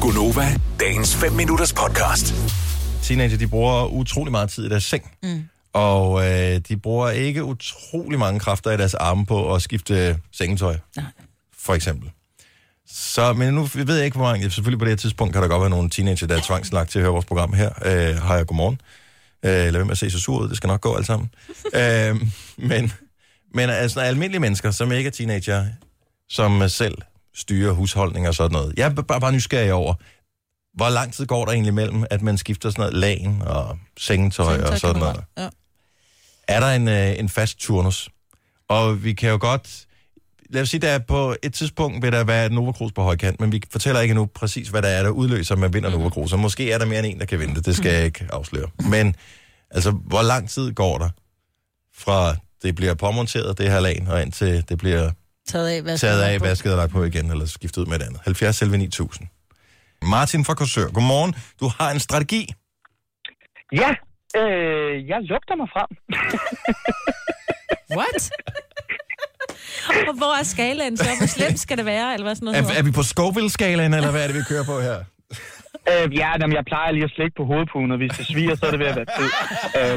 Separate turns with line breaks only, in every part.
Gunova, dagens 5 minutters podcast.
teenager, de bruger utrolig meget tid i deres seng. Mm. Og øh, de bruger ikke utrolig mange kræfter i deres arme på at skifte øh, sengetøj,
Nej.
for eksempel. Så, men nu ved jeg ikke, hvor mange... Selvfølgelig på det her tidspunkt kan der godt være nogle teenager, der er tvangslagt til at høre vores program her. Øh, hej og godmorgen. Øh, lad være med at se så sur ud, det skal nok gå alt sammen. øh, men, men altså almindelige mennesker, som ikke er teenager, som selv styrer husholdning og sådan noget. Jeg er bare, bare nysgerrig over, hvor lang tid går der egentlig mellem, at man skifter sådan noget lagen og sengetøj, sengetøj og
Tøj
sådan
kan man
noget?
godt- Ja.
er der en, øh, en fast turnus. Og vi kan jo godt... Lad os sige, der er på et tidspunkt vil der være et Nova Cruz på højkant, men vi fortæller ikke nu præcis, hvad der er, der udløser, at man vinder Nova Cruz. Og måske er der mere end en, der kan vinde det. Det skal jeg ikke afsløre. Men altså, hvor lang tid går der fra det bliver påmonteret, det her lag, og indtil det bliver
Taget af, hvad
taget af, vasket og lagt på igen, eller skiftet ud med et andet. 70 selv 9000. Martin fra Korsør, godmorgen. Du har en strategi.
Ja, øh, jeg lugter mig frem.
What? Og hvor er skalaen så? Hvor slemt skal det være, eller hvad sådan noget?
Er, er
hedder?
vi på Scoville-skalaen, eller hvad er det, vi kører på her?
Øh, ja, jamen, jeg plejer lige at slikke på hovedpuden, og hvis det sviger, så er det ved at være tid. Øh,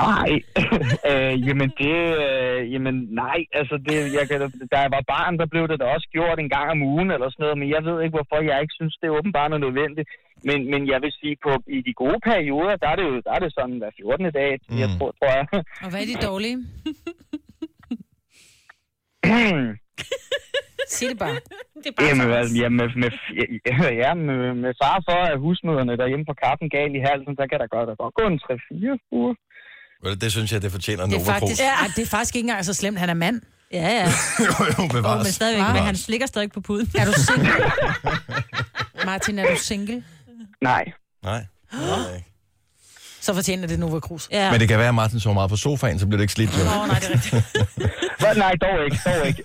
nej, øh, jamen det, øh, jamen nej, altså det, jeg kan, da jeg var barn, der blev det da også gjort en gang om ugen eller sådan noget, men jeg ved ikke, hvorfor jeg ikke synes, det er åbenbart er nødvendigt. Men, men jeg vil sige, på, i de gode perioder, der er det jo der er det sådan hver 14. dag, mm. jeg tror, tror jeg.
Og hvad er de dårlige? Sig det bare. Det er
Jamen, altså, ja, med, med, ja, ja, med, med far for, at husmøderne derhjemme på kappen gal i halsen, der kan der godt, der godt gå en 3-4 uger.
Vel, Det synes jeg, det fortjener
Det
Nova
er,
Cruz.
faktisk, ja. det er faktisk ikke engang så slemt, han er mand.
Ja, ja.
jo, bevares.
Men stadigvæk, men han slikker stadig på puden.
Er du single? Martin, er du single?
Nej.
Nej. Nej.
Så fortjener det Nova Cruz.
Ja.
Men det kan være, at Martin så meget på sofaen, så bliver det ikke slidt. Jo.
Åh, nej, det er rigtigt.
Hva, nej, dog ikke, dog ikke.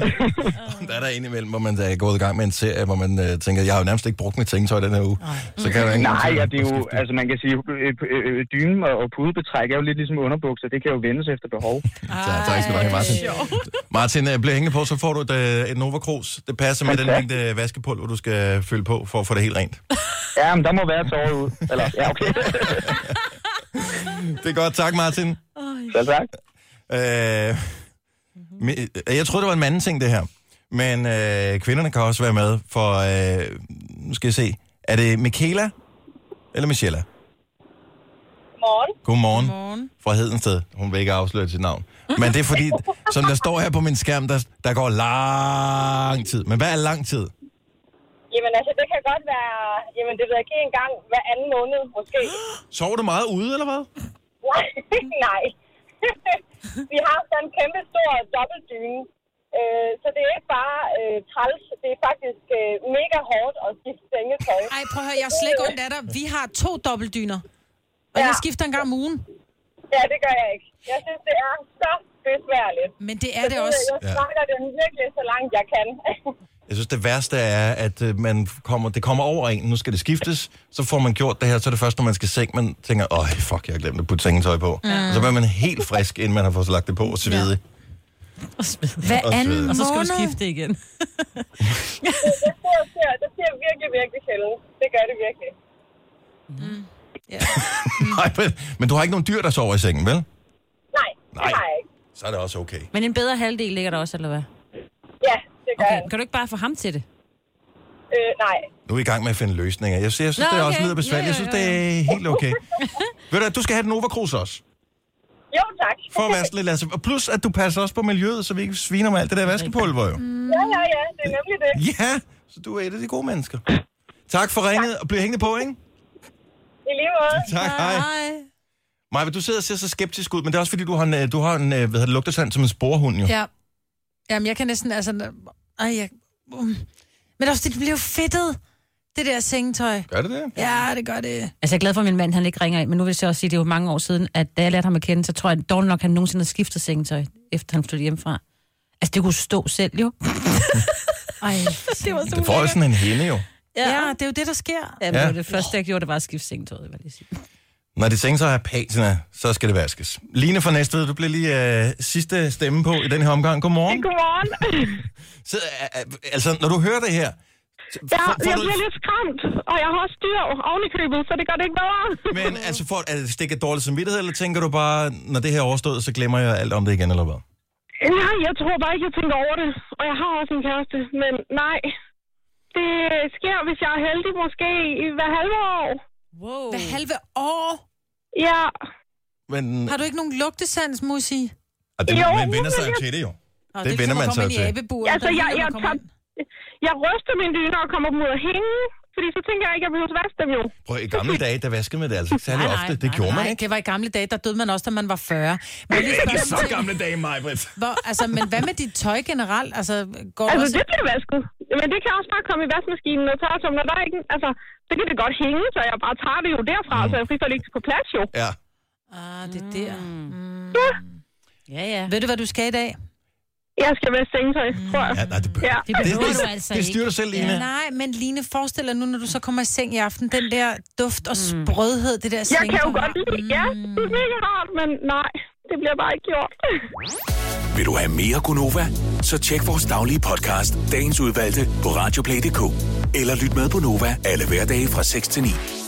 Der er der en imellem, hvor man er gået i gang med en serie, hvor man øh, tænker, jeg har jo nærmest ikke brugt mit sengetøj den her uge. Nej. Så kan der ikke
nej, ja, det er jo, altså man kan sige, øh, øh, øh, dynen og, og pudebetræk er jo lidt ligesom underbukser, det kan jo vendes efter behov.
Tak, tak skal du have, Martin. Martin, øh, bliv hængende på, så får du et, øh, et Nova Cruz. Det passer med den
Fantastisk.
mængde vaskepulver, du skal fylde på, for at få det helt rent.
Ja, men der må være tårer ud. Eller, ja, okay.
Det er godt. Tak, Martin.
Så tak.
Øh, men- øh, jeg troede, det var en mandeting, det her. Men øh, kvinderne kan også være med, for øh, nu skal jeg se. Er det Michaela eller Michella?
Morgen.
Godmorgen.
Godmorgen.
Fra Hedensted. Hun vil ikke afsløre sit navn. Men det er fordi, som der står her på min skærm, der, der går lang tid. Men hvad er lang tid?
Jamen altså, det kan godt være, jamen det ved jeg ikke engang, hver anden måned måske.
Sover du meget ude, eller hvad?
Nej, nej. Vi har sådan en kæmpe stor dobbeltdyne. Øh, så det er ikke bare øh, træls, det er faktisk øh, mega hårdt at skifte sengetøj.
Ej, prøv at høre, jeg er slet ikke ondt af dig. Vi har to dobbeltdyner. Og jeg
Ja.
skifter en gang om ugen.
Ja, det gør jeg ikke. Jeg synes, det er så besværligt.
Men det er det også.
Jeg snakker det virkelig så langt, jeg kan.
Jeg synes, det værste er, at øh, man kommer, det kommer over en. Nu skal det skiftes. Så får man gjort det her. Så er det først, når man skal i seng, man tænker, åh, fuck, jeg har glemt at putte sengetøj på. Mm. Og så bliver man helt frisk, inden man har fået lagt det på og svede.
Hver
Og
anden
svede.
Og så skal du
måned.
skifte igen.
det, sker, det sker virkelig, virkelig sjældent. Det gør det virkelig.
Nej, men, men du har ikke nogen dyr, der sover i sengen, vel?
Nej, det
Nej.
har jeg ikke.
Så er det også okay.
Men en bedre halvdel ligger der også, eller hvad?
Ja, det gør okay.
Okay.
jeg.
Kan du ikke bare få ham til det?
Øh, nej.
Nu er vi i gang med at finde løsninger. Jeg, synes, jeg synes,
Nå,
det er også
okay.
lidt besværligt. Jeg
Ja,
synes,
ja,
det er helt okay. Ved du, hvad, du skal have den Nova Cruz også.
Jo, tak.
For at være sådan lidt, Lasse. Og plus, at du passer også på miljøet, så vi ikke sviner med alt det der vaskepulver, jo.
Mm.
Ja, ja, ja, det er nemlig det.
Ja, så du er et af de gode mennesker. Tak for ringet, og bliv hængende på, ikke?
I lige måde.
Tak, hej. Maja, du sidder og ser så skeptisk ud, men det er også fordi, du har en, øh, du har en øh, hvad hedder det, lugtesand som en sporehund, jo.
Ja. Jamen, jeg kan næsten, altså... Ej, jeg... Um. Men også, det bliver jo fedtet, det der sengetøj.
Gør det det?
Ja, det gør det.
Altså, jeg er glad for, at min mand han ikke ringer ind, men nu vil jeg så også sige, at det er jo mange år siden, at da jeg lærte ham at kende, så tror jeg, at dårlig nok, han nogensinde har skiftet sengetøj, efter han flyttede hjemmefra. Altså, det kunne stå selv jo.
Ej,
Det var så
Det får jo sådan en hænde, jo.
ja, det er jo det, der sker.
Ja,
Ja.
men det, var det første, jeg gjorde, det var at skifte sengetøjet, vil jeg lige sige.
Når det tænker sig er patina, så skal det vaskes. Line fra Næstved, du bliver lige øh, sidste stemme på i den her omgang. Godmorgen.
Godmorgen.
Så, øh, øh, altså, når du hører det her,
Jeg,
Får- får
jeg
du-
bliver lidt skræmt, og jeg har også dyr oven i købet, så det gør det ikke bedre.
Men altså, for, er det stik af dårlig samvittighed, eller tænker du bare, når det her er overstået, så glemmer jeg alt om det igen, eller hvad?
Nej, jeg tror bare ikke, jeg tænker over det. Og jeg har også en kæreste, men nej. Det sker, hvis jeg er heldig, måske i hver halve år.
Wow.
Hver halve år
Ja,
Men,
har du ikke nogen lugtesans, Musi? Nå,
og det,
Jo,
man vender sig
men
jo
jeg-
til det jo.
det,
vender
ligesom at
man
komme
sig
ind i
til.
abeburen.
Altså,
Der er
jeg-
lige, når
jeg
man kommer
tager-
ind.
jeg ryster mine dyner og kommer dem ud at hænge, fordi så tænker jeg ikke, at jeg behøver vaske dem jo.
Prøv, i gamle dage, der vaskede man det altså ikke særlig
Nej, nej,
ofte. Det
nej,
gjorde man
Nej,
ikke.
det var i gamle dage, der døde man også, da man var 40. Men, lige spørge om ting.
dage, mig, Britt.
Hvor, altså, men hvad med dit tøj generelt? Altså, går
Altså,
altså, også...
det bliver vasket. Men det kan også bare komme i vaskemaskinen og tørre som, når der er ikke... Altså, det kan det godt hænge, så jeg bare tager det jo derfra, mm. så jeg frister det ikke på plads jo.
Ja.
Ah, det er der.
Ja, ja.
Ved du, hvad du skal i dag?
Jeg skal vaske sengetøj, tror jeg.
Mm. ja nej, det behøver.
Ja.
Det behøver
det,
du altså
det styrer
ikke.
dig selv, Line.
Ja. Nej, men Line, forestil dig nu, når du så kommer i seng i aften, den der duft og sprødhed, det der
Jeg kan jo
sengtøj.
godt lide det. Ja, det er mega rart, men nej, det bliver bare ikke gjort.
Vil du have mere Gunova? Så tjek vores daglige podcast, dagens udvalgte, på radioplay.dk. Eller lyt med på Nova alle hverdage fra 6 til 9.